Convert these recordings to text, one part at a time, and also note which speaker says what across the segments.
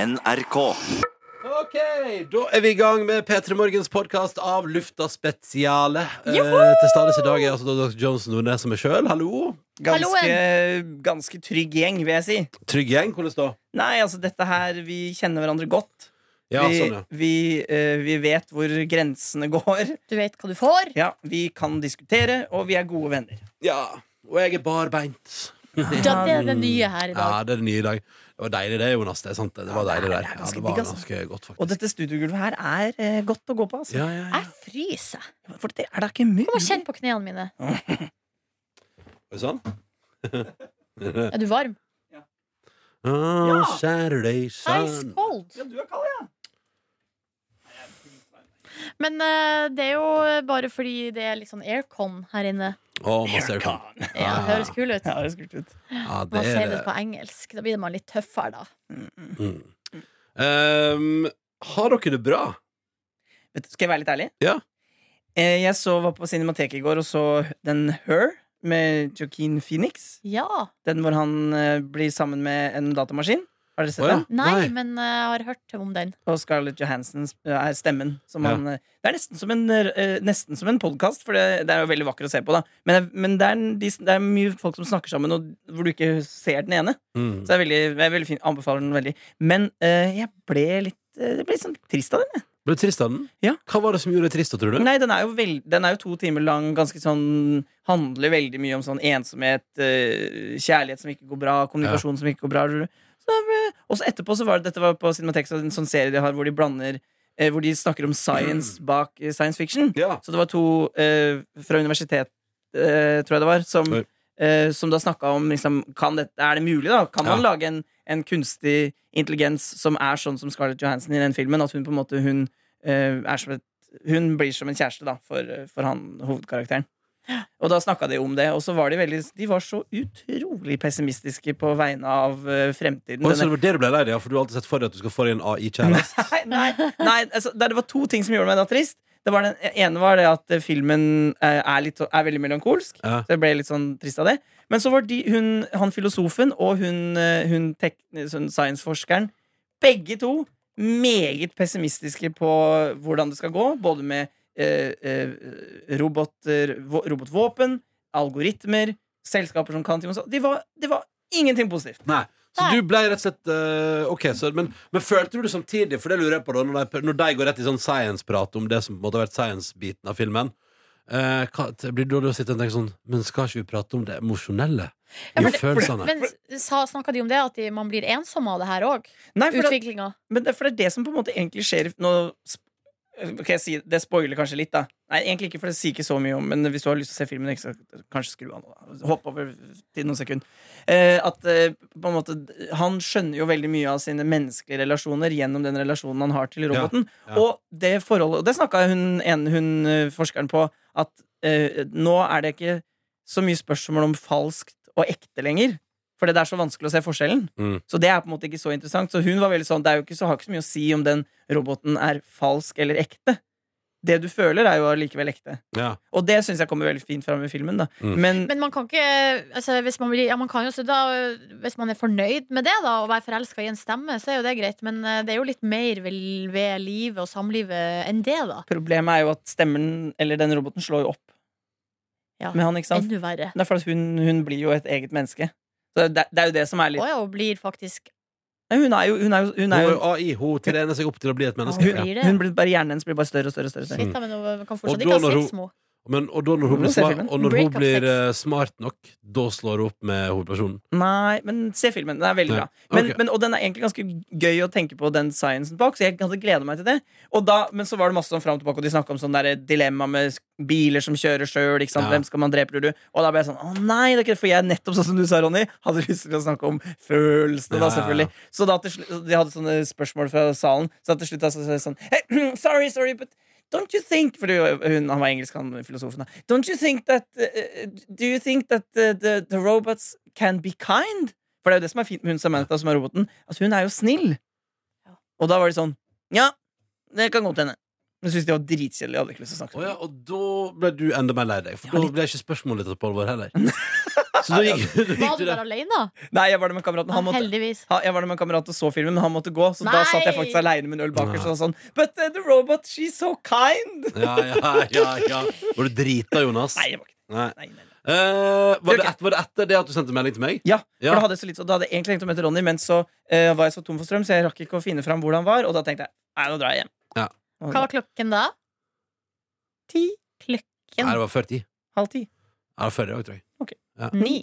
Speaker 1: NRK.
Speaker 2: Ok, Da er vi i gang med P3 Morgens podkast av Lufta Spesiale. Eh, til stades i dag er altså da Dr. Jones Nordnes som er sjøl. Hallo.
Speaker 3: Ganske, ganske trygg gjeng, vil jeg si.
Speaker 2: Trygg gjeng, hvordan da?
Speaker 3: Nei, altså dette her Vi kjenner hverandre godt.
Speaker 2: Ja,
Speaker 3: vi,
Speaker 2: sånn, ja.
Speaker 3: vi, eh, vi vet hvor grensene går.
Speaker 4: Du vet hva du får.
Speaker 3: Ja, Vi kan diskutere, og vi er gode venner.
Speaker 2: ja. Og jeg er barbeint.
Speaker 4: Ja, det er det nye her i dag.
Speaker 2: Ja, det er det nye i dag. Det var deilig det, Jonas. Det er sant. Det Det var deilig der. Ja, det var ganske godt,
Speaker 3: Og
Speaker 2: faktisk.
Speaker 3: dette studiogulvet her er eh, godt å gå på. Altså.
Speaker 2: Ja, ja, ja.
Speaker 4: Jeg fryser.
Speaker 3: For det er da ikke mye
Speaker 4: Kom og kjenn på knærne mine.
Speaker 2: Er det Sånn.
Speaker 4: Er du varm?
Speaker 2: Oh, Saturday
Speaker 4: Ice
Speaker 2: sun.
Speaker 4: cold.
Speaker 3: Ja, du er kald, ja.
Speaker 4: Men eh, det er jo bare fordi det er litt sånn aircon her inne.
Speaker 2: Å, masse aircon.
Speaker 4: Ja, det høres kul ut.
Speaker 3: Ja, det er skult ut.
Speaker 2: Ja, det
Speaker 4: Man sier
Speaker 2: er
Speaker 4: det
Speaker 2: det.
Speaker 4: på engelsk. Da blir man litt tøffere, da.
Speaker 2: Mm. Um, har dere det bra?
Speaker 3: Vet du, Skal jeg være litt ærlig?
Speaker 2: Ja.
Speaker 3: Eh, Jeg så, var på Cinemateket i går og så den Her med Joaquin Phoenix.
Speaker 4: Ja.
Speaker 3: Den hvor han eh, blir sammen med en datamaskin. Har dere sett
Speaker 2: Å, ja.
Speaker 3: den?
Speaker 4: Nei,
Speaker 2: Nei.
Speaker 4: men eh, jeg har hørt om den.
Speaker 3: Og Scarlett Johansson eh, er stemmen. Som
Speaker 2: Ja.
Speaker 3: han, eh, det er nesten som en, eh, nesten som en podkast, for det, det er jo veldig vakker å se på. Da. Men, eh, men det, er, en- de, det er mye folk som snakker sammen, og hvor du ikke ser den ene.
Speaker 2: Mm.
Speaker 3: Så det er veldig, det er veldig fint. Anbefaler den veldig. Men eh, jeg ble litt eh, jeg ble litt sånn trist av den. jeg.
Speaker 2: Ble du trist av den?
Speaker 3: Ja.
Speaker 2: Hva var det som gjorde deg trist, da, tror du?
Speaker 3: Nei, den er, jo veld, den er jo to timer lang, ganske sånn Handler veldig mye om sånn ensomhet, eh, kjærlighet som ikke går bra, kommunikasjon som ikke går bra. tror du. Så da ble- Og så etterpå så var det dette var på Cinematex, en sånn serie de har hvor de blander eh, Hvor de snakker om science bak eh, science fiction.
Speaker 2: Ja.
Speaker 3: Så det var to eh, fra universitet, eh, tror jeg det var, som,
Speaker 2: Oi.
Speaker 3: eh, som da snakka om liksom, kan det, Er det mulig, da? Kan man
Speaker 2: Ja.
Speaker 3: lage en, en kunstig intelligens som er sånn som Scarlett Johansson i den filmen? At hun på en måte hun, eh, er som et, hun blir som en kjæreste da, for, eh, for han hovedkarakteren. Og da snakka de om det, og så var de veldig De var så utrolig pessimistiske på vegne av eh, fremtiden.
Speaker 2: Oi,
Speaker 3: Denne-
Speaker 2: så det var det du ble lei deg av, for du har alltid sett for deg at du skal få deg en AI-kjæreste.
Speaker 3: Nei, nei, nei altså, det det var to ting som gjorde meg da trist. Det var den ene var det at eh, filmen eh, er, litt, er veldig melankolsk.
Speaker 2: Ja.
Speaker 3: Så jeg ble litt sånn trist av det. Men så var de, hun, han filosofen og hun, eh, hun, tek- sånn science-forskeren begge to meget pessimistiske på hvordan det skal gå. Både med eh, eh, roboter, vå- robotvåpen, algoritmer, selskaper som kan ting. og så. De var, det var ingenting positivt.
Speaker 2: Nei. Så du ble rett og slett eh, Ok, så, men, men følte du det samtidig, for det lurer jeg på, da, når de, når de går rett i sånn science-prat om det som på en måte har vært science-biten av filmen eh, hva, Blir du da å sitte og tenke sånn Men skal ikke vi prate om det emosjonelle? I
Speaker 4: Ja, men det-
Speaker 2: følelsene?
Speaker 4: Men sa- snakka de om det, at de, man blir ensom av det her òg?
Speaker 3: Nei, for det-
Speaker 4: Utviklinga.
Speaker 3: Men det, for det er det som på en måte egentlig skjer Nå kan jeg si Det spoiler kanskje litt, da. Nei, egentlig ikke, for det sier ikke så mye om Men hvis du har lyst til å se filmen, ikke så, kanskje skru av nå. da. Hopp over til noen sekunder. Eh, at eh, på en måte Han skjønner jo veldig mye av sine menneskelige relasjoner gjennom den relasjonen han har til roboten.
Speaker 2: ja.
Speaker 3: Og det forholdet Og det snakka hun, en- hun eh, forskeren på, at eh, nå er det ikke så mye spørsmål om falskt og ekte lenger. For det er så vanskelig å se forskjellen.
Speaker 2: Mm.
Speaker 3: Så det er på en måte ikke så interessant. Så hun var veldig sånn, det er jo ikke så, har ikke så mye å si om den roboten er falsk eller ekte. Det du føler, er jo allikevel ekte.
Speaker 2: Ja.
Speaker 3: Og det syns jeg kommer veldig fint fram i filmen. da
Speaker 2: Mm.
Speaker 3: Men,
Speaker 4: Men man kan ikke altså, hvis, man blir, ja, man kan jo, så da, hvis man er fornøyd med det, da, å være forelska i en stemme, så er jo det greit. Men eh, det er jo litt mer ved, ved livet og samlivet enn det, da.
Speaker 3: problemet er jo at stemmen, eller den roboten, slår jo opp
Speaker 4: Ja.
Speaker 3: med han, ikke sant?
Speaker 4: Enda verre.
Speaker 3: Det er for at hun, hun blir jo et eget menneske. Så det, det er jo det som er
Speaker 4: Å
Speaker 3: litt
Speaker 4: ja, og blir faktisk
Speaker 3: Nei, Hun er jo, hun er jo, hun
Speaker 2: Hun
Speaker 3: er
Speaker 2: er
Speaker 3: jo
Speaker 2: jo AI, hun trener seg opp til å bli et menneske.
Speaker 3: hun,
Speaker 4: blir det.
Speaker 3: hun blir bare, Hjernen hennes blir bare større og større. og større, og større.
Speaker 4: Shit, da, men man kan
Speaker 2: Mm. Og
Speaker 4: fortsatt
Speaker 2: da
Speaker 4: ikke ha
Speaker 2: når hun-
Speaker 4: sex med henne.
Speaker 2: Men, og da når hun
Speaker 3: Må
Speaker 2: blir,
Speaker 3: se
Speaker 2: smart,
Speaker 3: filmen.
Speaker 2: og når hun
Speaker 4: Breakup
Speaker 2: blir
Speaker 4: sex.
Speaker 2: eh, smart nok, da slår hun opp med hovedpersonen.
Speaker 3: Nei, men se filmen. Den er
Speaker 2: Ja,
Speaker 3: veldig bra. Men,
Speaker 2: ok.
Speaker 3: men, og den er egentlig ganske gøy å tenke på, den sciencen bak, så jeg hadde gleda meg til det. Og da, men så var det masse sånn fram og tilbake, og de snakka om sånn der dilemma med sk- biler som kjører sjøl. ikke sant?
Speaker 2: Ja.
Speaker 3: Hvem skal man drepe, tror du? Og da ble jeg sånn Å nei, det er ikke det. For jeg nettopp sånn som du sa, Ronny, hadde lyst til å snakke om følelsene,
Speaker 2: Ja, ja,
Speaker 3: da,
Speaker 2: ja.
Speaker 3: selvfølgelig. Så da til slutt De hadde sånne spørsmål fra salen, så til slutt da, så, så, sånn hey, Sorry, sorry, but Don't you think Fordi hun, han var engelsk, han filosofen. da. Don't you think that eh, Do you think that eh, the, the robots can be kind? For det er jo det som er fint med hun Samantha, som er roboten, at hun er jo snill.
Speaker 4: Ja.
Speaker 3: Og da var de sånn Ja, det kan godt hende. Men jeg synes de var dritkjedelige. Jeg hadde ikke lyst til å snakke
Speaker 2: Å
Speaker 3: med
Speaker 2: ja,
Speaker 3: dem.
Speaker 2: og da ble du enda mer lei deg, for
Speaker 3: Ja,
Speaker 2: da ble ikke spørsmålet tatt på alvor heller. Så nå gikk, nå gikk
Speaker 4: Var
Speaker 2: du
Speaker 4: du der
Speaker 2: der.
Speaker 4: alene?
Speaker 3: Nei, jeg var der med kameraten. Han måtte,
Speaker 4: Heldigvis.
Speaker 3: Ha- Jeg var der med en kamerat og så filmen, men han måtte gå. Så
Speaker 4: Nei!
Speaker 3: da satt jeg faktisk aleine med en øl bakerst
Speaker 2: Ja.
Speaker 3: og sånn But uh, the robot, she's so kind!
Speaker 2: Ja, ja, ja, ja. Var du drita, Jonas?
Speaker 3: Nei, det var ikke
Speaker 2: Nei.
Speaker 3: nei, nei, nei.
Speaker 2: Eh, var,
Speaker 3: Det er
Speaker 2: det
Speaker 3: ok.
Speaker 2: et, var det etter det at du sendte melding til meg?
Speaker 3: Ja,
Speaker 2: Ja.
Speaker 3: for da hadde jeg så litt, og da hadde jeg egentlig tenkt å møte Ronny, men så eh, var jeg så tom for strøm, så jeg rakk ikke å finne fram hvor han var, og da tenkte jeg nei, nå drar jeg hjem.
Speaker 2: Ja.
Speaker 3: Og
Speaker 4: Hva var klokken da?
Speaker 3: Ti?
Speaker 2: Nei, det var før ti.
Speaker 3: Halv ti?
Speaker 2: Ja, det var før det også, tror jeg.
Speaker 3: Mm.
Speaker 4: Ni.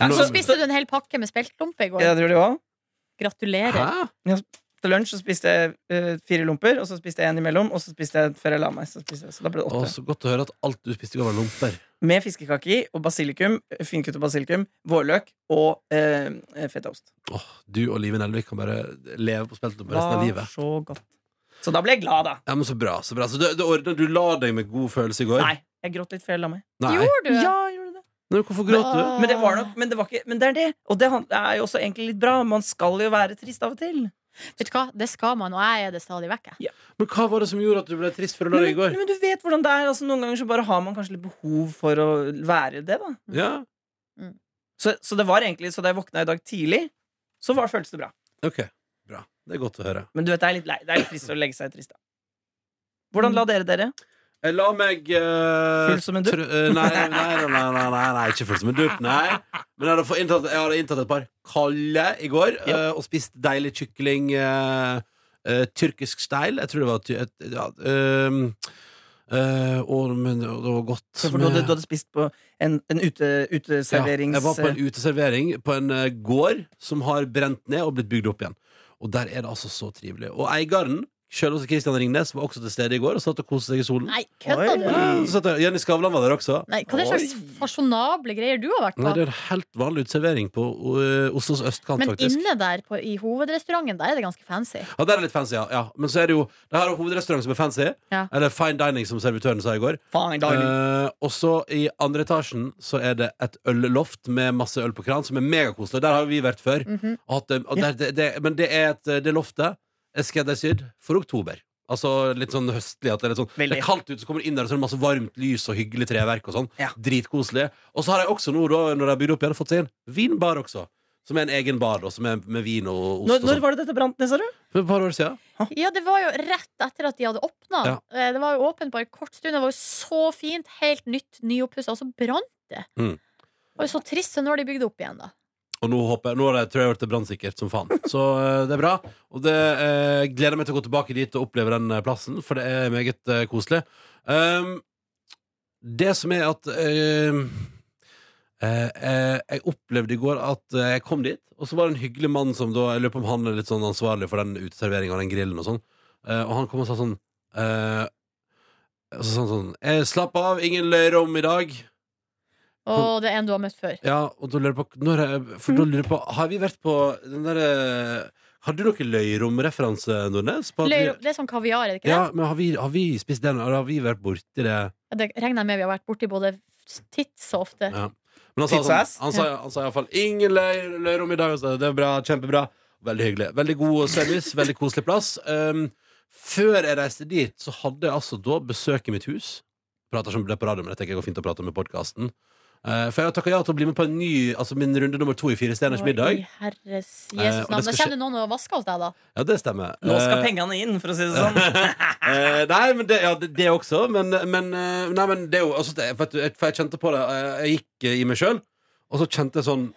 Speaker 3: Ja,
Speaker 2: Nå-
Speaker 4: Så spiste du en hel pakke med speltlompe i går.
Speaker 3: Jeg tror det var.
Speaker 4: Gratulerer.
Speaker 2: Hæ?
Speaker 3: Til lunsj så spiste jeg eh, fire lomper, og så spiste jeg en imellom, og så spiste jeg før jeg la meg. Så, spiste jeg, så da ble det
Speaker 2: Å,
Speaker 3: åtte.
Speaker 2: så godt å høre at alt du spiste i går, var lomper.
Speaker 3: Med fiskekake i, og basilikum, eh, finkuttet basilikum, vårløk og eh, fetaost.
Speaker 2: Åh, du og Live Nelvik kan bare leve på speltet på resten av
Speaker 3: Var
Speaker 2: livet.
Speaker 3: så godt. Så da ble jeg glad, da.
Speaker 2: Ja, men Så bra. så bra Så Du, du, ordnet- du la deg med god følelse i går?
Speaker 3: Nei, jeg gråt litt før jeg la meg.
Speaker 2: Nei.
Speaker 4: Gjorde du?
Speaker 3: Ja, jeg gjorde det.
Speaker 2: Nei, men hvorfor gråt du?
Speaker 4: Ah.
Speaker 3: Men det var nok Men det, var ikke, men det er det. Og det han- er jo også egentlig litt bra. Man skal jo være trist av og til.
Speaker 4: Vet du hva, det skal man, og jeg er det stadig vekk. jeg.
Speaker 2: Men hva var det som gjorde at du ble trist for å la
Speaker 3: Men,
Speaker 2: deg i går?
Speaker 3: men du vet hvordan det er. Altså, noen ganger så bare har man kanskje litt behov for å være det, da.
Speaker 2: Ja,
Speaker 3: Så, så det var egentlig Så da jeg våkna i dag tidlig, så var, føltes det bra.
Speaker 2: ok Bra, det er godt å høre
Speaker 3: Men du vet, det er litt, lei, det er litt trist å legge seg trist, da. Hvordan la dere dere?
Speaker 2: Jeg la meg eh,
Speaker 3: Full som en durp?
Speaker 2: tr- eh, nei, nei, nei, nei, nei, nei, nei, ikke full som en durp, nei Men jeg hadde, fått inntatt, jeg hadde inntatt et par kalde i går
Speaker 3: Ja.
Speaker 2: eh, Og spist deilig kykling eh, eh, Tyrkisk steil Jeg tror det var ty- et, ja, ehm, eh, og, men, og det var godt
Speaker 3: For du
Speaker 2: med-
Speaker 3: hadde, du hadde spist på en, en ute, uteserverings...
Speaker 2: eh, Ja, jeg var på en uteservering på en eh, gård som har brent ned og blitt bygd opp igjen. Og der er det altså så trivelig. Og eieren, sjøl også Christian Ringnes, var også til stede i går og satt og koste seg i solen.
Speaker 4: Nei, kødda
Speaker 3: Oi.
Speaker 4: du?
Speaker 2: Ja, så satt jeg- Jenny Skavlan var der også.
Speaker 4: Nei, hva er det slags fasjonable greier du har vært
Speaker 2: Nei,
Speaker 4: på?
Speaker 2: det er en helt vanlig uteservering på eh, Oslos østkant,
Speaker 4: Men
Speaker 2: faktisk.
Speaker 4: inne der på, i hovedrestauranten, der er det ganske fancy.
Speaker 2: Ja, der er det litt fancy, ja. ja. Men så er det jo Det her er hovedrestaurant som er fancy.
Speaker 4: Ja.
Speaker 2: Eller fine dining, som servitøren sa i går.
Speaker 3: Fine dining.
Speaker 2: Eh, og så i andre etasjen så er det et ølloft med masse øl på kran, som er megakoselig. Der har vi vært før.
Speaker 4: Mhm.
Speaker 2: Og at, det- og
Speaker 3: Ja.
Speaker 2: der, det, det, men det er et, det loftet er skreddersydd for oktober. Altså litt sånn høstlig. At det, er litt sånn, det
Speaker 3: Veldig.
Speaker 2: er kaldt ute, så kommer du inn der, og så er det masse varmt lys og hyggelig treverk. og sånn
Speaker 3: Ja.
Speaker 2: Dritkoselig. Og så har jeg også nå, da, når jeg har bygd opp igjen, fått seg en vinbar også. Som er en egen bar, da, som er med vin og ost
Speaker 3: Når,
Speaker 2: og
Speaker 3: når
Speaker 2: sånn.
Speaker 3: var det dette brant ned, sa du?
Speaker 2: For et par år siden.
Speaker 4: Ja, det var jo rett etter at de hadde åpna.
Speaker 2: Ja.
Speaker 4: Det var jo åpent bare en kort stund. Det var jo så fint, helt nytt, nyoppussa, og så brant det.
Speaker 2: Mm.
Speaker 4: Det var jo så trist, så nå har de bygd det opp igjen, da.
Speaker 2: Og nå, håper jeg, nå har jeg, tror jeg har vært brannsikkert som faen. Så eh, det er bra. Og det eh, gleder meg til å gå tilbake dit og oppleve den eh, plassen, for det er meget eh, koselig. Um, det som er at ehm, eh, eh, Jeg opplevde i går at eh, jeg kom dit, og så var det en hyggelig mann som da Jeg lurer på om han er litt sånn ansvarlig for den uteserveringa og den grillen og sånn. Eh, og han kom og sa sånn eh, så sa han sånn eh, 'Slapp av, ingen løyer om i dag'.
Speaker 4: Og det er en du har møtt før.
Speaker 2: Ja, og da lurer jeg på, når jeg, for da lurer jeg på Har vi vært på den derre Har du noen løyromreferanse, Nordnes? På at vi-
Speaker 4: Løy- Det er sånn kaviar, er det ikke det?
Speaker 2: Ja, men har vi, har vi spist den? Eller har vi vært borti det?
Speaker 4: Det regner jeg med vi har vært borti både titt så ofte.
Speaker 2: Ja. Men han sa,
Speaker 3: Pizza ass?
Speaker 2: sånn, han sa, han sa iallfall 'ingen løy- løyrom i dag'. og så, Det er bra, kjempebra. Veldig hyggelig. Veldig god service, veldig koselig plass. Um, før jeg reiste dit, så hadde jeg altså da besøk i mitt hus. Prater som det på radio, men jeg tenker jeg går fint å prate om i podkasten. Eh, for jeg har takka ja til å bli med på en ny, altså min runde nummer to i Fire stjerners
Speaker 4: Oi,
Speaker 2: middag.
Speaker 4: Herres
Speaker 2: Eh, og
Speaker 4: Jesus
Speaker 2: det
Speaker 4: navn. Da
Speaker 2: skal
Speaker 4: kommer det noen og vasker hos deg, da.
Speaker 2: Ja, det stemmer.
Speaker 3: Nå skal
Speaker 2: Eh,
Speaker 3: pengene inn, for å si det sånn.
Speaker 2: eh, nei, men det, ja, det, det også. Men, men, eh, nei, men det er jo altså, det, for, at, du- for jeg kjente på det. eh, Jeg gikk eh, i meg sjøl, og så kjente jeg sånn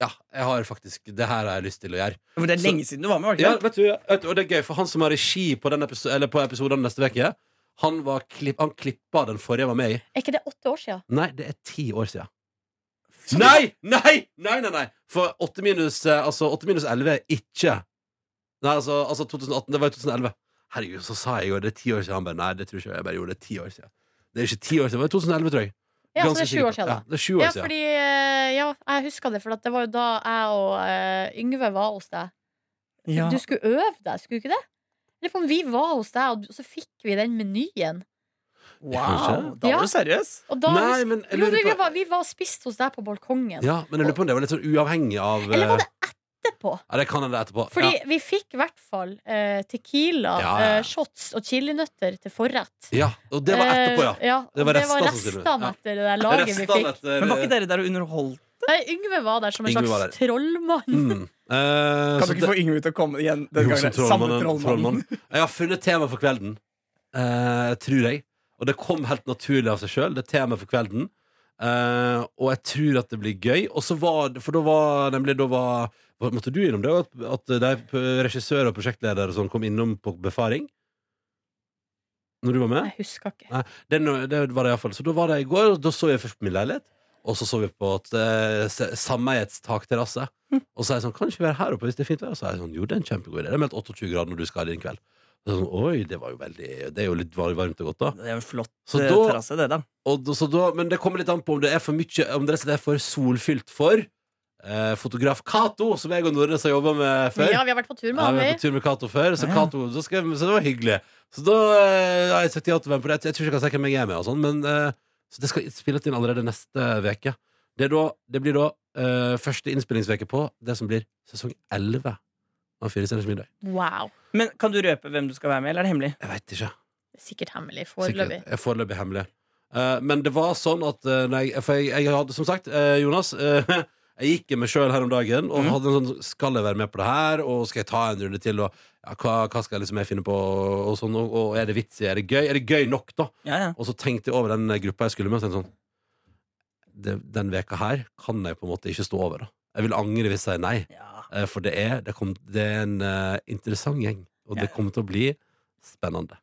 Speaker 2: Ja, jeg har faktisk Det her har jeg lyst til å gjøre.
Speaker 3: For det er lenge siden du var med, var det
Speaker 2: Ja,
Speaker 3: ikke? det?
Speaker 2: vet du, vet du, Og det er gøy, for han som har regi på, den episo eller på episoden neste uke, han, var klipp, han klippa den forrige jeg var med i.
Speaker 4: Er ikke det åtte år sia?
Speaker 2: Nei, det er ti år sia. Nei! Nei! Nei, nei, nei! For 8 minus, eh, altså, 8 minus 11 er ikke Nei, altså, altså 2018, det var i 2011. Herregud, så sa jeg i går det er ti år siden. Han bare nei, det tror jeg ikke. Jeg bare gjorde det er ti år siden. Det er ikke ti år siden, det var i 2011, tror jeg.
Speaker 4: Ja, så
Speaker 2: Ganske
Speaker 4: det er sju år
Speaker 2: sikkert.
Speaker 4: siden, da.
Speaker 2: Ja, det er sju år
Speaker 4: Ja,
Speaker 2: siden.
Speaker 4: fordi, eh, ja, jeg husker det, for at det var jo da jeg og eh, Yngve var hos deg.
Speaker 3: Ja.
Speaker 4: Du skulle øve deg, skulle du ikke det? Eller om vi var hos deg, og du- så fikk vi den menyen.
Speaker 3: Wow, da
Speaker 4: Ja.
Speaker 3: var du seriøs.
Speaker 4: Og da
Speaker 2: Nei, men jeg
Speaker 4: jo,
Speaker 2: lurer
Speaker 4: vi,
Speaker 2: på-
Speaker 4: var, vi var og spiste hos deg på balkongen.
Speaker 2: Ja, men jeg lurer på om det var litt sånn uavhengig av
Speaker 4: Eller var
Speaker 2: eh,
Speaker 4: det etterpå.
Speaker 2: Ja, det kan hende etterpå.
Speaker 4: Fordi vi fikk i hvert fall eh, tequila,
Speaker 2: Ja, ja, ja.
Speaker 4: eh, shots og chilinøtter til forrett.
Speaker 2: ja. ja, og det var etterpå, ja.
Speaker 4: Eh, ja og
Speaker 2: Det
Speaker 4: det
Speaker 2: var
Speaker 4: var
Speaker 2: restene, sannsynligvis.
Speaker 4: restene
Speaker 2: Ja.
Speaker 4: etter det der laget vi
Speaker 2: Restene
Speaker 4: fikk.
Speaker 2: etter
Speaker 3: Men var ikke dere der og underholdt?
Speaker 4: Nei, Yngve var der som en
Speaker 2: Yngve var
Speaker 4: slags trollmann.
Speaker 2: mm. Eh,
Speaker 3: Kan
Speaker 2: så
Speaker 3: du ikke få Yngve til å komme igjen
Speaker 2: det-
Speaker 3: den
Speaker 2: Jo, som
Speaker 3: gangen? Samme
Speaker 2: trollmannen-
Speaker 3: trollmann.
Speaker 2: trollmann. Jeg har funnet tema for kvelden, eh, tror jeg. Og det kom helt naturlig av seg sjøl. Det er tema for kvelden. Eh, og jeg tror at det blir gøy. Og så var det, For da var nemlig da var, hva- Måtte du innom det? At, at de p- regissør og prosjektleder og sånn kom innom på befaring? Når du var med?
Speaker 4: Jeg husker ikke.
Speaker 2: Nei, det, er noe- det var det iallfall. Så da var det i går, og da så vi først på min leilighet. Og så så vi på et eh, se- sameiets takterrasse. Og så er jeg sånn, kan du ikke være her oppe hvis det er fint vær? Og så er jeg sånn, jo, det er en kjempegod idé. Det er meldt 28 grader når du skal her i kveld. Og så er jeg sånn, Oi, det var jo veldig Det er jo litt var- varmt og godt, da.
Speaker 3: Det er jo en flott
Speaker 2: Så
Speaker 3: eh,
Speaker 2: da-
Speaker 3: terrasse, det, da.
Speaker 2: Og, da- så da men det kommer litt an på om det er for mye Om det rett og slett er for solfylt for eh, fotograf Cato, som jeg og Nordnes har jobba med før.
Speaker 4: Ja, vi har vært på tur med
Speaker 2: Ja, vi
Speaker 4: Avi.
Speaker 2: var på tur med Cato før, så,
Speaker 3: Ja, ja.
Speaker 2: Cato- så, skal, jeg- så det var hyggelig. Så da eh, har jeg sagt ja til hvem på det. Jeg tror ikke jeg kan si hvem jeg er med, og sånn, men eh, så det skal spilles inn allerede neste uke. Det, er da, det blir da eh, første innspillingsveke på det som blir sesong 11 av Fire stjerners middag.
Speaker 4: Wow.
Speaker 3: Men kan du røpe hvem du skal være med, eller er det hemmelig?
Speaker 2: Jeg veit ikke.
Speaker 4: Det er Sikkert hemmelig
Speaker 2: Sikkert.
Speaker 4: foreløpig.
Speaker 2: Jeg er Foreløpig hemmelig. Eh, men det var sånn at eh, når jeg, For jeg, jeg hadde, som sagt, eh, Jonas eh, Jeg gikk i meg sjøl her om dagen og
Speaker 3: Mhm.
Speaker 2: hadde en sånn Skal jeg være med på det her, og skal jeg ta en runde til, og ja, hva, hva skal jeg liksom jeg finne på, og, og sånn, og, og er det vits i, er det gøy? Er det gøy nok, da?
Speaker 3: Ja, ja.
Speaker 2: Og så tenkte jeg over den gruppa jeg skulle med, og tenkte sånn det, Den veka her kan jeg på en måte ikke stå over, da. Jeg vil angre hvis jeg sier nei,
Speaker 3: ja.
Speaker 2: eh, for det er, det kom, det er en eh, interessant gjeng, og det
Speaker 3: Ja.
Speaker 2: kommer til å bli spennende.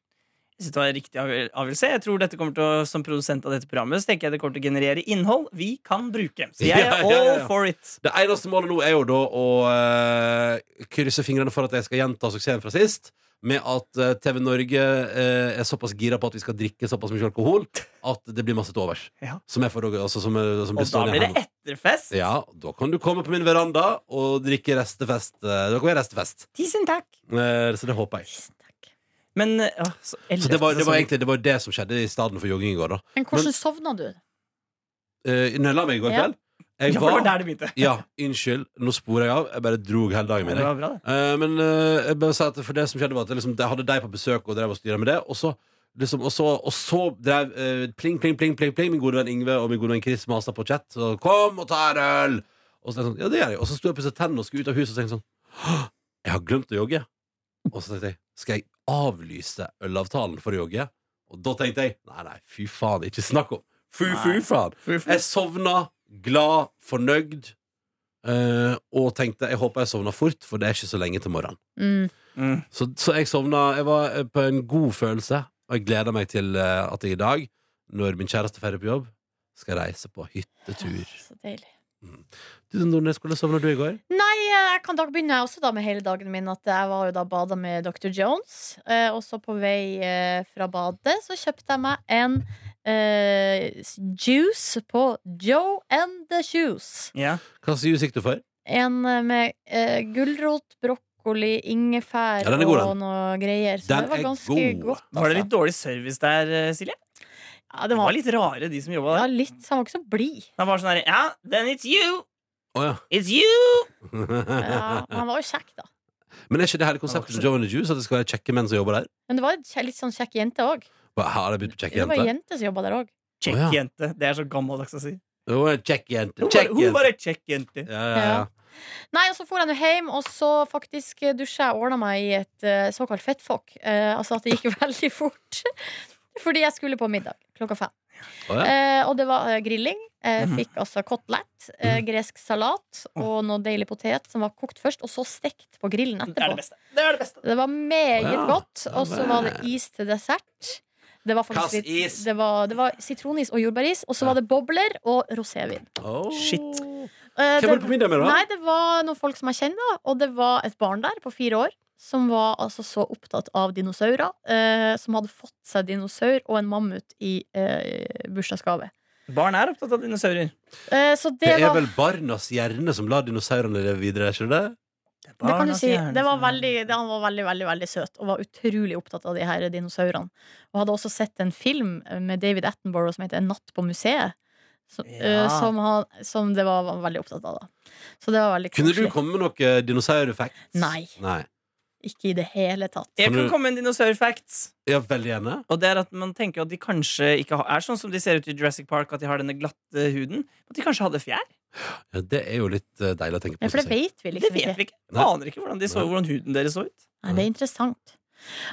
Speaker 3: Jeg synes det var en riktig avgjø- avgjørelse. Jeg tror dette kommer til å, Som produsent av dette programmet Så tenker jeg det kommer til å generere innhold vi kan bruke. Så jeg
Speaker 2: Ja, ja,
Speaker 3: er all
Speaker 2: ja, ja.
Speaker 3: for it.
Speaker 2: Det eneste målet nå er jo da å eh, krysse fingrene for at jeg skal gjenta suksessen fra sist. Med at eh, TV Norge eh, er såpass gira på at vi skal drikke såpass mye alkohol at det blir masse til overs.
Speaker 3: Ja.
Speaker 2: Som jeg får, altså, som, eh, som
Speaker 3: Og
Speaker 2: blir
Speaker 3: da
Speaker 2: stående
Speaker 3: blir
Speaker 2: hjemme.
Speaker 3: det etterfest.
Speaker 2: Ja, da kan du komme på min veranda og drikke restefest. eh, Da kan vi ha restefest.
Speaker 3: Tusen takk.
Speaker 2: Eh, så det håper jeg.
Speaker 4: Tusen takk.
Speaker 3: Men ja, så
Speaker 2: Så det var, det var
Speaker 3: sånn.
Speaker 2: egentlig det, var det som skjedde i stedet for jogging i går, da.
Speaker 4: Men hvordan sovna du?
Speaker 2: Uh, når jeg la meg i går
Speaker 4: Ja.
Speaker 2: kveld
Speaker 3: ja,
Speaker 2: jeg
Speaker 3: for det var der det begynte.
Speaker 2: Ja, unnskyld. Nå sporer jeg av. Jeg bare drog hele dagen
Speaker 3: Ja,
Speaker 2: min.
Speaker 3: det
Speaker 2: jeg.
Speaker 3: var bra, det.
Speaker 2: Eh, men eh, jeg bare sa at for det som skjedde var at jeg, liksom, jeg hadde deg på besøk og drev og styra med det. Og så, liksom, og så, og så drev eh, pling, pling, pling, pling, pling min gode venn Ingve og min gode venn Chris masa på chat. Så kom og ta en øl! Og så, er jeg sånn, ja, det gjør jeg. og så sto jeg og pusset tennene og skulle ut av huset og tenkte sånn «Hå, Jeg har glemt å jogge. Og så tenkte jeg skal jeg avlyse ølavtalen for å jogge? Og da tenkte jeg nei, nei, fy faen, ikke snakk om. Fy, fy
Speaker 3: Nei.
Speaker 2: faen. Jeg sovna glad, fornøyd, eh, og tenkte jeg håper jeg sovna fort, for det er ikke så lenge til morgenen.
Speaker 4: Mm.
Speaker 3: Mm.
Speaker 2: Så, så jeg sovna Jeg var eh, på en god følelse, og jeg gleder meg til eh, at jeg i dag, når min kjæreste er ferdig på jobb, skal reise på hyttetur.
Speaker 4: Så deilig.
Speaker 2: Du Nordnes, hvordan sovna du i går?
Speaker 4: Nei, jeg kan da begynne jeg også da med hele dagen min at jeg var jo da bada med Dr. Jones. Eh, og så på vei eh, fra badet så kjøpte jeg meg en eh, juice på Joe and the Juice.
Speaker 3: Ja.
Speaker 2: Hva slags juice gikk du for?
Speaker 4: En eh, med eh, gulrot, brokkoli, ingefær
Speaker 2: Ja, den er god,
Speaker 4: og
Speaker 2: den.
Speaker 4: noe greier. Så
Speaker 2: Den
Speaker 4: det var
Speaker 2: er
Speaker 4: ganske
Speaker 2: god.
Speaker 4: godt.
Speaker 3: Var det
Speaker 4: altså.
Speaker 3: litt dårlig service der, eh, Silje?
Speaker 4: Ja,
Speaker 3: Det
Speaker 4: den
Speaker 3: var
Speaker 4: var,
Speaker 3: litt rare, de som jobba
Speaker 4: ja,
Speaker 3: der.
Speaker 4: litt. Han var ikke så blid.
Speaker 3: Det var sånn her Ja, then it's you!
Speaker 2: Å ja.
Speaker 3: It's you!
Speaker 4: Ja, men han var jo kjekk, da.
Speaker 2: Men er ikke det hele konseptet med Joe and the Juice at det skal være kjekke menn som jobber der?
Speaker 4: Men det var en kje- litt sånn kjekk jente òg.
Speaker 2: Hva, Har jeg begynt på kjekke
Speaker 4: Det var ei
Speaker 2: jenter?
Speaker 4: jente som jobba der òg.
Speaker 3: Check
Speaker 2: Å, ja.
Speaker 3: jente. Det er så gammeldags å si.
Speaker 2: Hun var en kjekk jente.
Speaker 3: Hun var,
Speaker 2: Kjekk
Speaker 3: hun
Speaker 2: jente.
Speaker 3: var en check jente.
Speaker 2: Ja, ja, ja.
Speaker 4: Ja. Nei, og så for jeg nå hjem, og så faktisk eh, dusja jeg og ordna meg i et eh, såkalt fettfokk. Eh, altså at det gikk veldig fort. Fordi jeg skulle på middag klokka fem.
Speaker 2: Å, ja.
Speaker 4: Eh, og det var eh, grilling. Eh,
Speaker 3: Mhm.
Speaker 4: fikk altså kotelett,
Speaker 2: Mhm.
Speaker 4: eh, gresk salat og noe deilig potet som var kokt først, og så stekt på grillen
Speaker 3: Det er det
Speaker 4: etterpå.
Speaker 3: beste. Det er det beste.
Speaker 4: Det var meget
Speaker 2: Ja,
Speaker 4: godt. Og så
Speaker 2: men-
Speaker 4: var det is til dessert. Det var
Speaker 2: Hva slags
Speaker 4: faktisk litt,
Speaker 2: is?
Speaker 4: det var, det var sitronis og jordbæris, og så var det bobler og rosévin.
Speaker 2: Å.
Speaker 3: Shit.
Speaker 4: Eh,
Speaker 2: Hvem var det på middag med, da?
Speaker 4: Nei, det var noen folk som jeg kjenner, da, og det var et barn der på fire år. Som var altså så opptatt av dinosaurer. Eh, som hadde fått seg dinosaur og en mammut i eh, bursdagsgave.
Speaker 3: Barn er opptatt av dinosaurer.
Speaker 4: Eh, så
Speaker 2: Det
Speaker 4: det,
Speaker 2: er
Speaker 4: var
Speaker 2: vel barnas hjerne som lar dinosaurene leve videre, ikke det?
Speaker 4: Det
Speaker 3: Ah,
Speaker 4: kan du si. Det
Speaker 3: sånn.
Speaker 4: var veldig, det, han var veldig, veldig veldig søt og var utrolig opptatt av de her dinosaurene. Og hadde også sett en film med David Attenborough som heter En natt på museet. Så,
Speaker 3: Ja.
Speaker 4: eh, som, han, som det var han var veldig opptatt av, da. Så det var veldig
Speaker 2: Kunne du
Speaker 4: koselig.
Speaker 2: komme med noe eh, dinosaureffekt?
Speaker 4: Nei.
Speaker 2: Nei.
Speaker 4: Ikke i det hele tatt.
Speaker 3: Jeg
Speaker 2: Kan
Speaker 3: kan
Speaker 2: du-
Speaker 3: komme med en dinosaurfacts.
Speaker 2: Ja, veldig gjerne.
Speaker 3: Og det er at man tenker at de kanskje ikke har, er sånn som de ser ut i Jurassic Park, at de har denne glatte huden. At de kanskje hadde fjær.
Speaker 2: Ja, det er jo litt eh, deilig å tenke på.
Speaker 4: Ja, for det
Speaker 2: synes jeg.
Speaker 4: vet vi
Speaker 3: Det
Speaker 4: liksom
Speaker 3: vet
Speaker 4: ikke.
Speaker 3: vi ikke. Vi
Speaker 2: Nei.
Speaker 3: aner ikke hvordan, de så,
Speaker 2: Nei.
Speaker 3: hvordan huden deres så ut.
Speaker 4: Nei, det er interessant.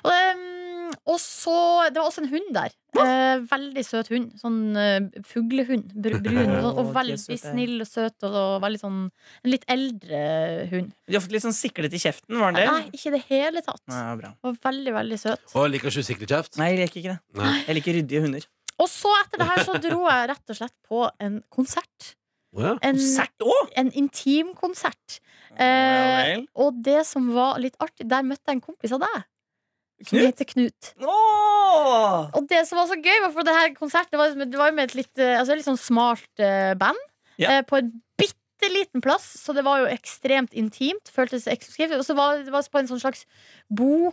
Speaker 4: Og, ehm, og så Det var også en hund der. Eh, veldig søt hund. Sånn eh, fuglehund. Br brun. Og, sånn, og
Speaker 3: Å, de er
Speaker 4: veldig
Speaker 3: søte.
Speaker 4: snill og søt. Og, og veldig sånn En litt eldre hund.
Speaker 3: De har fått litt sånn siklet i kjeften, var den det?
Speaker 4: Nei, ikke i det hele
Speaker 3: Nei,
Speaker 4: tatt.
Speaker 3: bra.
Speaker 4: Og veldig, veldig søt.
Speaker 2: Å, liker ikke du sikre kjeft?
Speaker 3: Nei, jeg liker ikke det.
Speaker 2: Nei.
Speaker 3: Jeg liker ryddige hunder.
Speaker 4: Og så etter det her så dro jeg rett og slett på en konsert.
Speaker 2: Å, ja.
Speaker 4: En,
Speaker 3: Sært òg!
Speaker 4: en intimkonsert. Eh, og det som var litt artig, der møtte jeg en kompis av deg. Som
Speaker 3: Knut?
Speaker 4: heter Knut.
Speaker 3: Åh!
Speaker 4: Og det som var så gøy, var for det her konsertet var, det var jo med et litt, eh, altså, et litt sånn smart eh, band.
Speaker 3: Ja.
Speaker 4: eh, på en bitte liten plass, så det var jo ekstremt intimt. Føltes eksklusivt. Og så var det var på en sånn slags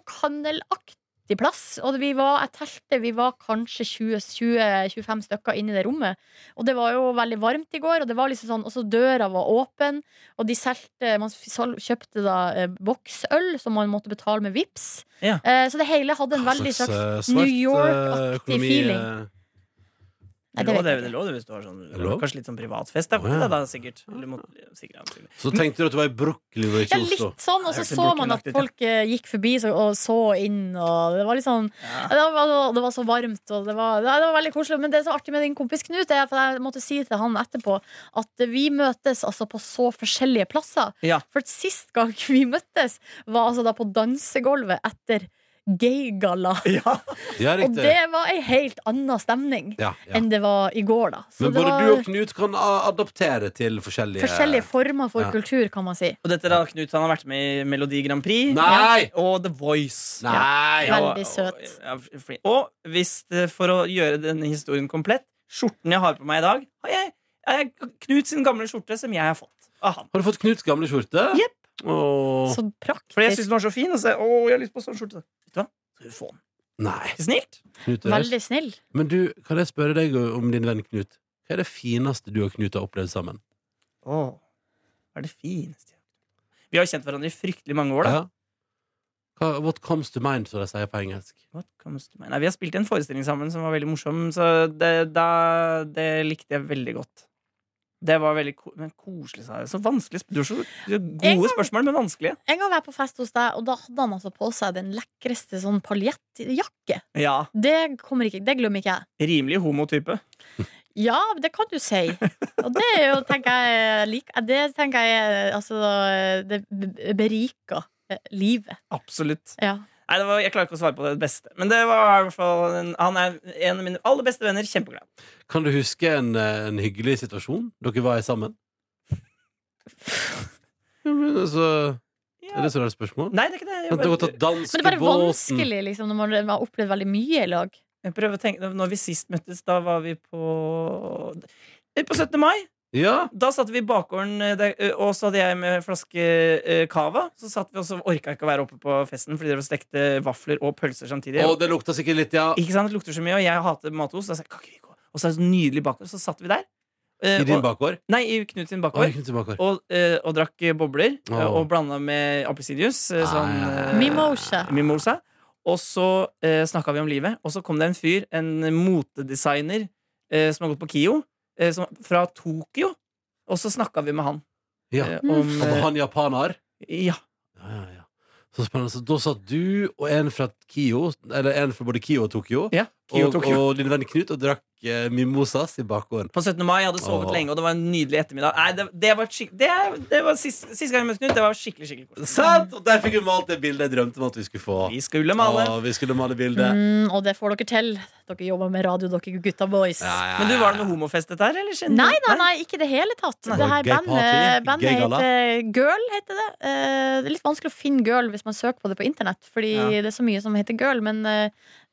Speaker 4: bokhandelaktig plass. Og vi var, jeg telte vi var kanskje 20-25 stykker inne i det rommet. Og det var jo veldig varmt i går, og det var liksom sånn, også døra var åpen. Og de solgte Man sol- kjøpte da eh, boksøl som man måtte betale med vips.
Speaker 3: Ja.
Speaker 4: Eh, så det hele hadde en veldig slags
Speaker 2: eh,
Speaker 4: New York-aktig feeling. Nei,
Speaker 3: Det er lov,
Speaker 4: vet
Speaker 3: det,
Speaker 4: jeg
Speaker 3: det er
Speaker 4: ikke.
Speaker 3: lov det, hvis du har sånn
Speaker 2: er lov.
Speaker 3: Kanskje litt sånn privatfest. Da,
Speaker 2: Å, ja.
Speaker 3: da, da sikkert. Eller må, sikkert, ja, sikkert.
Speaker 2: Så tenkte du at du var i Brooklyn og
Speaker 4: Ja,
Speaker 2: ikke i Oslo?
Speaker 4: litt sånn, og så
Speaker 3: Jeg hørte
Speaker 4: så man at
Speaker 3: Brooklyn-aktig,
Speaker 4: folk eh, gikk forbi så, og så inn, og det var litt sånn
Speaker 3: Ja.
Speaker 4: det var, det var så varmt, og det var, det var veldig koselig. Men det som er artig med din kompis Knut, er for jeg måtte si til han etterpå at vi møtes altså på så forskjellige plasser.
Speaker 3: Ja.
Speaker 4: For sist gang vi møttes, var altså da på dansegulvet etter Gaygalla.
Speaker 3: Ja.
Speaker 2: Ja,
Speaker 4: Og
Speaker 2: riktig.
Speaker 4: det var ei helt anna stemning
Speaker 2: Ja, ja.
Speaker 4: enn det var i går, da. Så
Speaker 2: Men
Speaker 4: det
Speaker 2: både
Speaker 4: var
Speaker 2: du og Knut kan a- adoptere til forskjellige
Speaker 4: forskjellige former for
Speaker 2: Ja.
Speaker 4: kultur, kan man si.
Speaker 3: Og dette da, Knut han har vært med i Melodi Grand Prix.
Speaker 2: Nei!
Speaker 3: Og The Voice.
Speaker 2: Nei!
Speaker 4: Ja.
Speaker 3: og-
Speaker 4: Veldig søt.
Speaker 3: Og, ja, fordi- og hvis det, for å gjøre denne historien komplett, skjorten jeg har på meg i dag, har jeg, er Knut sin gamle skjorte som jeg har fått av han.
Speaker 2: Har du fått Knuts gamle skjorte?
Speaker 3: Jepp.
Speaker 2: Åh.
Speaker 4: Så praktisk.
Speaker 3: Fordi jeg syns den var så fin. Og så, å, jeg har lyst på sånn skjorte. Vet du hva? Skal du få den.
Speaker 2: Nei.
Speaker 3: Snilt.
Speaker 2: Knut er raus.
Speaker 4: Veldig snill.
Speaker 2: Men du, kan jeg spørre deg om din venn Knut? Hva er det fineste du og Knut har opplevd sammen?
Speaker 3: Åh, hva er det fineste Vi har jo kjent hverandre i fryktelig mange år. da
Speaker 2: Ja. Hva, what comes to mind, som de sier på engelsk.
Speaker 3: What comes to mind? Nei, Vi har spilt i en forestilling sammen som var veldig morsom, så det, da, det likte jeg veldig godt. Det var veldig ko men koselig, sa jeg. Så vanskelig. sp- Du har så du har
Speaker 4: En
Speaker 3: gode
Speaker 4: gang-
Speaker 3: spørsmål, men vanskelige.
Speaker 4: En gang var jeg på fest hos deg, og da hadde han altså på seg den lekreste sånn paljettjakke.
Speaker 3: Ja,
Speaker 4: Det, kommer ikke, det glemmer ikke jeg.
Speaker 3: rimelig homotype.
Speaker 4: Ja, det kan du si. Og det er jo, tenker jeg, lik, det tenker jeg altså, Det b- beriker eh, livet.
Speaker 3: Absolutt.
Speaker 4: Ja.
Speaker 3: Nei, det var, Jeg klarer ikke å svare på det beste. Men det var i hvert fall en, han er en av mine aller beste venner. Kjempeglad.
Speaker 2: Kan du huske en, eh, en hyggelig situasjon dere var i sammen? Ja, men altså,
Speaker 3: Ja.
Speaker 2: er det så rart spørsmål?
Speaker 3: Nei, det er ikke det. Jeg,
Speaker 2: At dere har
Speaker 3: bare,
Speaker 2: tatt dansk
Speaker 4: Men det er
Speaker 2: i
Speaker 4: bare
Speaker 2: båten?
Speaker 4: vanskelig liksom, når man har opplevd veldig mye i lag.
Speaker 3: jeg prøver å tenke Når vi sist møttes, da var vi på På 17. mai.
Speaker 2: Ja.
Speaker 3: Da satt vi i bakgården, eh, der, eh, og så hadde jeg med flaske eh, cava. Så satt vi også, orka ikke å være oppe på festen fordi dere stekte vafler og pølser samtidig.
Speaker 2: Og det lukta sikkert litt, ja.
Speaker 3: Ikke sant, Det lukter så mye, og jeg hater matost. da sa jeg, "Kan ikke vi gå?" Og så er det så nydelig bakgård. Så satt vi der. eh,
Speaker 2: I din
Speaker 3: og-
Speaker 2: bakgård?
Speaker 3: Nei, i Knut sin
Speaker 2: Å,
Speaker 3: bakgård.
Speaker 2: jeg kunne ikke bakgård.
Speaker 3: og, eh, og drakk eh, bobler eh,
Speaker 2: Åh. Ah,
Speaker 3: og blanda med appelsinjuice. eh, Sånn, eh,
Speaker 4: Mimosa.
Speaker 3: mimosa. Og så uh, snakka vi om livet, og så kom det en fyr, en motedesigner eh, som har gått på KIO, eh, som, fra Tokyo, og så snakka vi med han.
Speaker 2: Ja.
Speaker 3: eh,
Speaker 4: Mm.
Speaker 3: om,
Speaker 2: Og var
Speaker 3: eh,
Speaker 2: han japaner?
Speaker 3: ja.
Speaker 2: Ja, ja, ja. Så spennende. Så da satt du og en fra Kio, eller en fra både Kio og Tokyo,
Speaker 3: ja. KIO
Speaker 2: og,
Speaker 3: Tokyo.
Speaker 2: og din venn Knut, og drakk eh, mimosas i bakgården.
Speaker 3: På 17. mai jeg hadde sovet
Speaker 2: Åh.
Speaker 3: lenge, og det var en nydelig ettermiddag. Nei, det, det var, skik- det, det var sist, Sist gang jeg møtte Knut, det var skikkelig skikkelig koselig.
Speaker 2: Sant! Og der fikk vi malt det bildet jeg drømte om at vi skulle få.
Speaker 3: Vi skulle male.
Speaker 2: Å, vi skulle male bildet.
Speaker 4: Mm, og det får dere til. Dere jobber med radio, dere gutta boys.
Speaker 2: Ja, ja, ja.
Speaker 3: Men du, var det noe homofest dette her, eller? kjente-
Speaker 4: Nei, nei, nei, ikke i det hele tatt. Det her
Speaker 2: Gay party,
Speaker 4: bandet, bandet
Speaker 2: gay galla.
Speaker 4: heter Girl. heter Det Eh, Det er litt vanskelig å finne Girl hvis man søker på det på internett, fordi
Speaker 3: Ja.
Speaker 4: det er så mye som heter Girl. Men eh,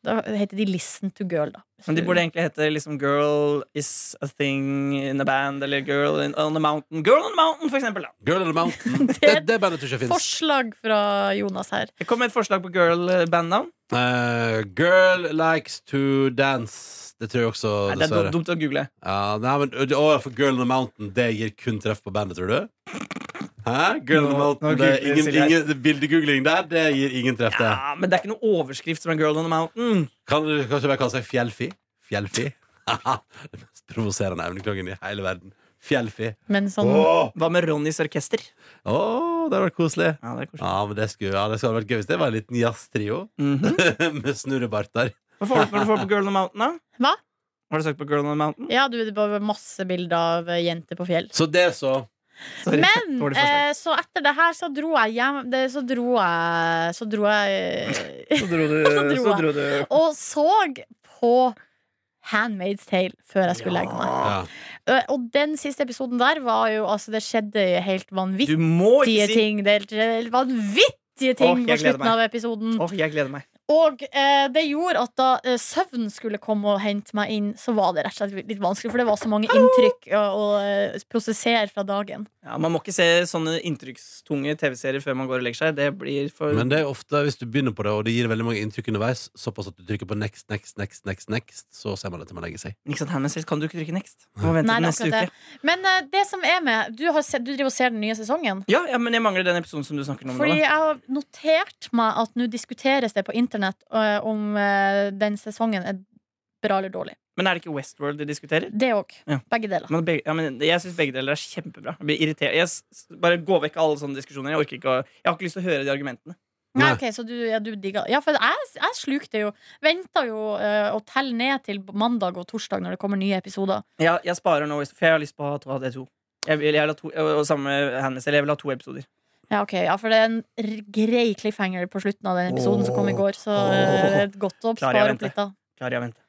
Speaker 4: Da heter de Listen to Girl, da.
Speaker 3: Men de burde egentlig hete liksom Girl is a thing in a band, eller Girl in, on the mountain. Girl on the mountain, for eksempel. Da.
Speaker 2: Girl in the Mountain.
Speaker 4: Det
Speaker 2: Det,
Speaker 4: er
Speaker 2: det bandet tror jeg ikke fins.
Speaker 4: Forslag fra Jonas her.
Speaker 3: Jeg kom med et forslag på girl-bandnavn.
Speaker 2: Eh, girl likes to dance. Det tror jeg også,
Speaker 3: Nei, Det er dumt-
Speaker 2: dessverre.
Speaker 3: dumt å google.
Speaker 2: Ja, nei, men, å, for Girl in the Mountain Det gir kun treff på bandet, tror du? Hæ? Girl in the
Speaker 3: Nå- nå
Speaker 2: Mountain Det er
Speaker 3: googler
Speaker 2: ingen,
Speaker 3: Silje her.
Speaker 2: ingen Bildegoogling der, det gir ingen treff, det.
Speaker 3: Ja, Ah, Men det er ikke noe overskrift som er Girl on the mountain.
Speaker 2: Kan du kanskje bare kalle seg Fjellfi? Fjellfi? det mest provoserende evneklangen i hele verden. Fjellfi.
Speaker 4: Men sånn
Speaker 2: Åh,
Speaker 3: Hva med Ronnys orkester?
Speaker 2: Åh, det var koselig.
Speaker 3: Ja, det er koselig.
Speaker 2: Ja, men det skulle, ja, det skulle vært gøy hvis det var en liten jazztrio
Speaker 3: Mhm.
Speaker 2: med snurrebarter.
Speaker 3: Hva får du hva får du på Girl on the mountain, da?
Speaker 4: Hva?
Speaker 3: Har du søkt på Girl on the mountain?
Speaker 4: Ja, du, det var masse bilder av eh, jenter på fjell.
Speaker 2: Så det, så.
Speaker 3: Sorry.
Speaker 4: Men
Speaker 3: Dårlig forslag.
Speaker 4: eh, så etter det her så dro jeg hjem det, Så dro jeg Så dro jeg eh,
Speaker 3: Så dro du,
Speaker 4: så dro jeg.
Speaker 3: du.
Speaker 4: Og så på Handmaid's Tale før jeg skulle legge meg.
Speaker 2: Ja.
Speaker 4: Eh, Og den siste episoden der var jo Altså, det skjedde helt
Speaker 3: Du
Speaker 4: vanvittige
Speaker 3: må ikke si
Speaker 4: ting. Det helt- helt vanvittige ting
Speaker 3: Åh, jeg
Speaker 4: på
Speaker 3: gleder
Speaker 4: slutten
Speaker 3: meg.
Speaker 4: av episoden.
Speaker 3: Åh, jeg gleder meg.
Speaker 4: Og eh, det gjorde at da eh, søvnen skulle komme og hente meg inn, så var det rett og slett litt vanskelig, for det var så
Speaker 3: Ah!
Speaker 4: mange inntrykk å, å eh, prosessere fra dagen.
Speaker 3: Ja, man må ikke se sånne inntrykkstunge TV-serier før man går og legger seg. Det blir for
Speaker 2: Men det er ofte, hvis du begynner på det, og det gir veldig mange inntrykk underveis, såpass at du trykker på next, next, next, next, next, så ser man det til man legger seg.
Speaker 3: Men Ikke sant, Handmaid's Tale kan du ikke trykke next. Du må vente
Speaker 4: Nei, det
Speaker 3: til
Speaker 4: er
Speaker 3: neste
Speaker 4: akkurat
Speaker 3: uke.
Speaker 4: Men eh, det som er med Du, har sett, du driver og ser den nye sesongen.
Speaker 3: Ja, ja, men jeg mangler den episoden som du snakker om. nå,
Speaker 4: Fordi
Speaker 3: da.
Speaker 4: jeg har notert meg at nå diskuteres det på internett eh, om eh, den sesongen er bra eller dårlig.
Speaker 3: Men er det ikke Westworld de diskuterer?
Speaker 4: Det òg.
Speaker 3: Ja.
Speaker 4: Begge deler.
Speaker 3: Men begge, ja, men jeg syns begge deler er kjempebra. Jeg blir irritert. Jeg s- bare gå vekk alle sånne diskusjoner. Jeg orker ikke å Jeg har ikke lyst til å høre de argumentene.
Speaker 4: Nei,
Speaker 2: Nei.
Speaker 4: ok, så du, ja, du digger Ja, for jeg, jeg slukte jo Venta jo eh, å telle ned til mandag og torsdag når det kommer nye episoder.
Speaker 3: Jeg, jeg sparer nå, West- for jeg har lyst på å ha to av de to. Jeg vil, jeg vil ha to og samme Handmaid's Tale. Jeg vil ha to episoder.
Speaker 4: Ja, ok, ja, for det er en r- grei cliffhanger på slutten av den episoden som kom i går. Så eh, det er godt å
Speaker 3: Klarer jeg å
Speaker 4: spare
Speaker 3: vente.
Speaker 4: opp litt, da.
Speaker 3: Klarer jeg å vente.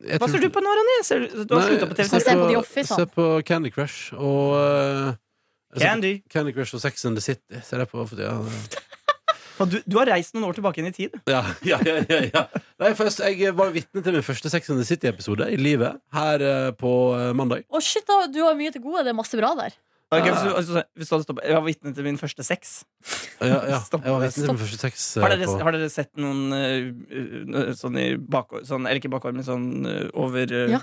Speaker 2: Jeg
Speaker 3: Hva
Speaker 2: tror-
Speaker 3: ser du på nå, Ronny? Ser du- Du har
Speaker 2: Nei,
Speaker 3: slutta
Speaker 4: se
Speaker 3: på TV-serier.
Speaker 4: på The Office, da.
Speaker 2: Se på Candy Crush og eh, jeg ser på
Speaker 3: Candy.
Speaker 2: Candy Crush og Sex and the City. Ser jeg på for tida.
Speaker 3: Faen, Du, du har reist noen år tilbake inn i tid.
Speaker 2: Ja, ja, ja, ja, ja. Nei, først, jeg var vitne til min første Sex and the City-episode i livet her eh, på eh, mandag.
Speaker 4: Å, shit, da, du har mye til gode. Det er masse bra der.
Speaker 3: Ok, hvis du, altså, hvis du hadde stoppet, jeg var vitne til min første sex.
Speaker 2: Ja, ja,
Speaker 3: Stopp.
Speaker 2: jeg var vitne til
Speaker 3: Stopp.
Speaker 2: min første sex eh,
Speaker 3: Har dere,
Speaker 2: på
Speaker 3: har dere sett noen eh, eh, sånn i bakår, sånn, Eller ikke bakår, men sånn eh, over eh,
Speaker 4: Ja.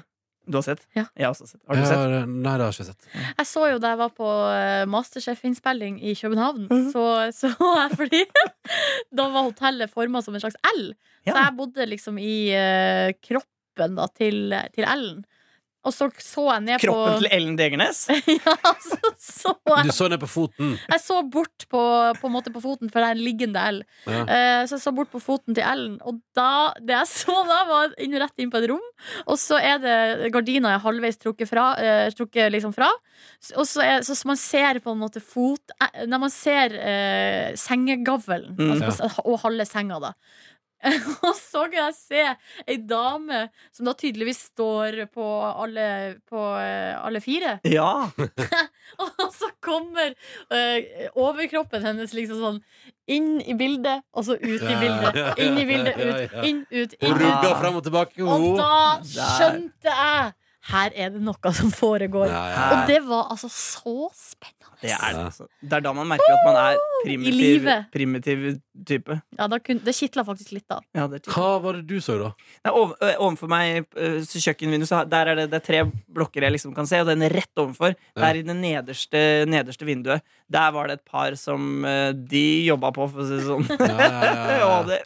Speaker 3: Du har sett?
Speaker 4: Ja.
Speaker 3: Jeg har også sett. Har du
Speaker 2: Jeg
Speaker 3: sett?
Speaker 2: har, eh, Nei, det har jeg ikke sett.
Speaker 4: Jeg så jo da jeg var på eh, Masterchef-innspilling i København,
Speaker 3: Mhm.
Speaker 4: så så jeg fordi da var hotellet forma som en slags L. Så
Speaker 3: Ja.
Speaker 4: jeg bodde liksom i eh, kroppen da, til, til L-en. Og så så jeg ned
Speaker 3: Kroppen
Speaker 4: på
Speaker 3: til Ellen Degernes?
Speaker 4: Ja, så så jeg
Speaker 2: Du så ned på foten.
Speaker 4: Jeg så bort på, på, en måte på foten, for det er en liggende L.
Speaker 2: Ja.
Speaker 4: Eh, så jeg så bort på foten til Ellen, og da, det jeg så da, var inn, rett inn på et rom. Og så er det gardina er halvveis trukket fra. eh, trukket liksom fra S- og så, er, så så man ser på en måte fot eh, Når man ser eh, sengegavlen
Speaker 3: Mm.
Speaker 4: altså, på s- og halve senga, da. og så kan jeg se ei dame som da tydeligvis står på alle, på, eh, alle fire.
Speaker 3: Ja!
Speaker 4: Og så kommer eh, overkroppen hennes liksom sånn inn i bildet, og så ut
Speaker 2: Ja,
Speaker 4: i
Speaker 2: ja,
Speaker 4: bildet. Inn i bildet,
Speaker 2: ja, ja,
Speaker 4: ut,
Speaker 2: ja.
Speaker 4: inn, ut,
Speaker 2: Hun
Speaker 4: inn.
Speaker 2: rugga fram og tilbake.
Speaker 4: Og
Speaker 2: hun.
Speaker 4: da
Speaker 3: Der.
Speaker 4: skjønte jeg her er det noe som foregår.
Speaker 2: Ja, ja,
Speaker 4: Og
Speaker 2: ja.
Speaker 4: det var altså så
Speaker 3: Det
Speaker 4: spennende.
Speaker 3: er, det, altså. det er da man merker at man er primitiv,
Speaker 4: livet.
Speaker 3: primitiv type.
Speaker 4: Ja, da kunne, det kitla faktisk litt, da.
Speaker 3: Ja, det er typ.
Speaker 2: Hva var det du så, da?
Speaker 3: Nei, over, ø, ovenfor meg, ø, så kjøkkenvinduet, så har- der er det, det er tre blokker jeg liksom kan se, og den rett ovenfor,
Speaker 2: Ja.
Speaker 3: der i det nederste, nederste vinduet, der var det et par som ø, de jobba på, for å si det sånn.
Speaker 2: Ja, ja, ja, ja.
Speaker 3: Og det,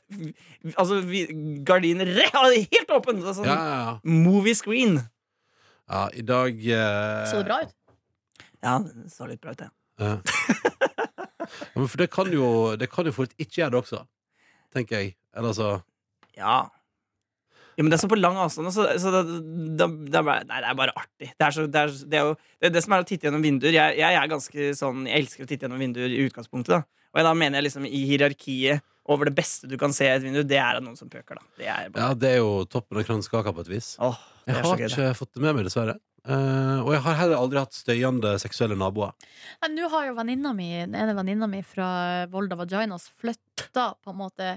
Speaker 3: altså, vi, gardinen re- ja, det er helt åpen! Det er sånn
Speaker 2: ja, ja, ja.
Speaker 3: movie screen.
Speaker 2: ja I dag eh,
Speaker 4: Så det bra ut?
Speaker 3: Ja, det så litt bra ut, det.
Speaker 2: Ja. Ja, men for det kan jo Det kan jo fort ikke gjøre det også, tenker jeg. Eller altså
Speaker 3: Ja. Ja, men det er så på lang avstand, så, så det, det, det, er bare, nei, det er bare artig. Det er, så, det, er, det, er jo, det, er det som er å titte gjennom vinduer jeg, jeg er ganske sånn Jeg elsker å titte gjennom vinduer i utgangspunktet, da. Og da mener jeg liksom i hierarkiet over det beste du kan se i et vindu, det er at noen som pøker, da. Det er bare
Speaker 2: Ja, det er jo toppen av kransekaka på et vis.
Speaker 3: Åh,
Speaker 2: Jeg
Speaker 3: det er så
Speaker 2: har
Speaker 3: gøy. det.
Speaker 2: ikke fått det med meg, dessverre. Eh, og jeg har heller aldri hatt støyende seksuelle naboer.
Speaker 4: Nei, Nå har jo venninna mi, den ene venninna mi fra Volda Vaginas flytta på en måte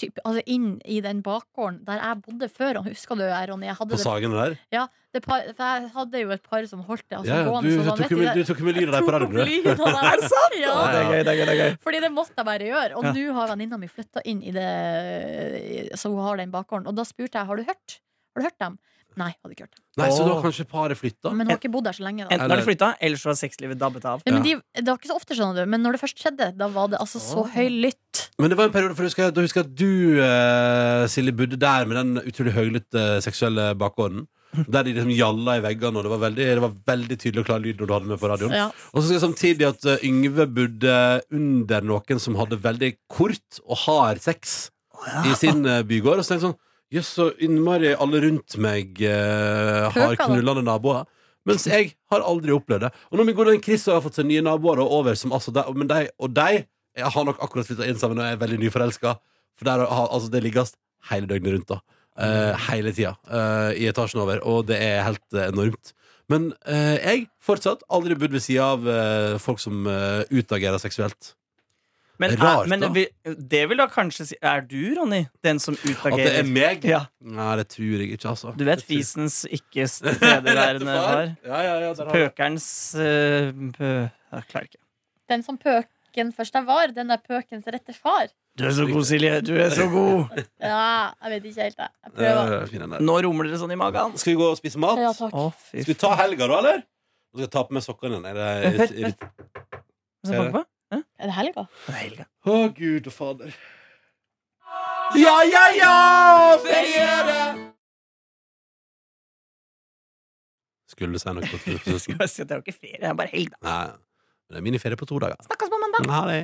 Speaker 4: typ, altså inn i den bakgården der jeg bodde før. Og Husker du, Ronny? Jeg hadde
Speaker 2: På
Speaker 4: det,
Speaker 2: sagene der?
Speaker 4: det par, for jeg hadde jo et par som holdt det. Altså,
Speaker 2: Ja, ja,
Speaker 4: gående,
Speaker 2: du,
Speaker 4: så
Speaker 2: du
Speaker 4: sånn,
Speaker 2: tok
Speaker 4: vet
Speaker 2: jo
Speaker 4: det-
Speaker 2: med- du tok jo med lyden av de på
Speaker 4: tok opp
Speaker 2: radioen.
Speaker 4: lyden av det. Ja.
Speaker 3: Ja, det er gøy, det er gøy, det er gøy.
Speaker 4: Fordi det måtte jeg bare gjøre. Og
Speaker 3: Ja.
Speaker 4: nå har venninna mi flytta inn i det Så hun har den bakgården. Og da spurte jeg har du hørt Har du hørt dem. Nei, hadde ikke hørt dem.
Speaker 2: Nei, så da
Speaker 3: Åh.
Speaker 2: har kanskje paret flytta?
Speaker 4: Men hun har ikke bodd der så lenge. da
Speaker 3: Enten har de flytta, eller så har sexlivet dabbet av.
Speaker 4: Nei, men de, det var ikke så ofte, skjønner du. Men når det først skjedde, da var det altså så
Speaker 3: Åh.
Speaker 4: høylytt.
Speaker 2: Men det var en periode, for husker jeg, da husker jeg at du, eh, Silje, bodde der med den utrolig høylytte eh, seksuelle bakgården. Der de liksom gjalla i veggene, og det var veldig, det var veldig tydelig og klar lyd når du hadde den med på radioen.
Speaker 4: Ja.
Speaker 2: Og så husker jeg samtidig at eh, Yngve bodde under noen som hadde veldig kort og hard sex i sin eh, bygård. Og så tenkte jeg sånn Jøss, så innmari alle rundt meg eh, har
Speaker 4: Pøker, da.
Speaker 2: knullende naboer. Mens jeg har aldri opplevd det. Og nå min gode venn Chris har fått seg nye naboer og over, som altså de, men de, og de jeg har nok akkurat flytta inn sammen og er veldig nyforelska. For der har, altså, det ligges hele døgnet rundt, da. Eh, hele tida. eh, I etasjen over. Og det er helt eh, enormt. Men eh, jeg fortsatt aldri bodd ved sida av eh, folk som eh, utagerer seksuelt. Det
Speaker 3: Men,
Speaker 2: er rart,
Speaker 3: er, men
Speaker 2: da.
Speaker 3: vi- det vil da kanskje si Er du, Ronny, den som
Speaker 2: At det
Speaker 3: utagerer?
Speaker 2: er meg?
Speaker 3: Ja,
Speaker 2: Nei, det tror jeg ikke, altså.
Speaker 3: du vet
Speaker 2: Det tror-
Speaker 3: fisens ikke tilstedeværende var?
Speaker 2: Ja, ja, ja, der har jeg.
Speaker 3: Pøkerens eh, pø... Jeg klarer ikke.
Speaker 4: Den som pøken først jeg var, den er pøkens rette far.
Speaker 3: Du er så god, Silje. Du er så god.
Speaker 4: Ja, jeg vet ikke helt, jeg. Jeg prøver.
Speaker 2: Eh, fin den der.
Speaker 3: Nå romler det sånn i magen.
Speaker 2: Skal vi gå og spise mat?
Speaker 4: Ja, takk.
Speaker 3: Å, fy
Speaker 2: Skal vi ta helga, da, eller? Nå skal jeg ta på meg sokkene igjen. Er det-
Speaker 3: Vent, vent. Skal jeg banke på?
Speaker 4: Er det helga?
Speaker 3: Det er helga.
Speaker 2: Å, gud og fader. Ja, ja, ja! Feriere! Skulle du si noe på
Speaker 3: Skal jeg si at det er jo ikke ferie, det er bare helg, da.
Speaker 2: Nei, men det er miniferie på to dager.
Speaker 4: Snakkes på mandag.
Speaker 2: Ha det.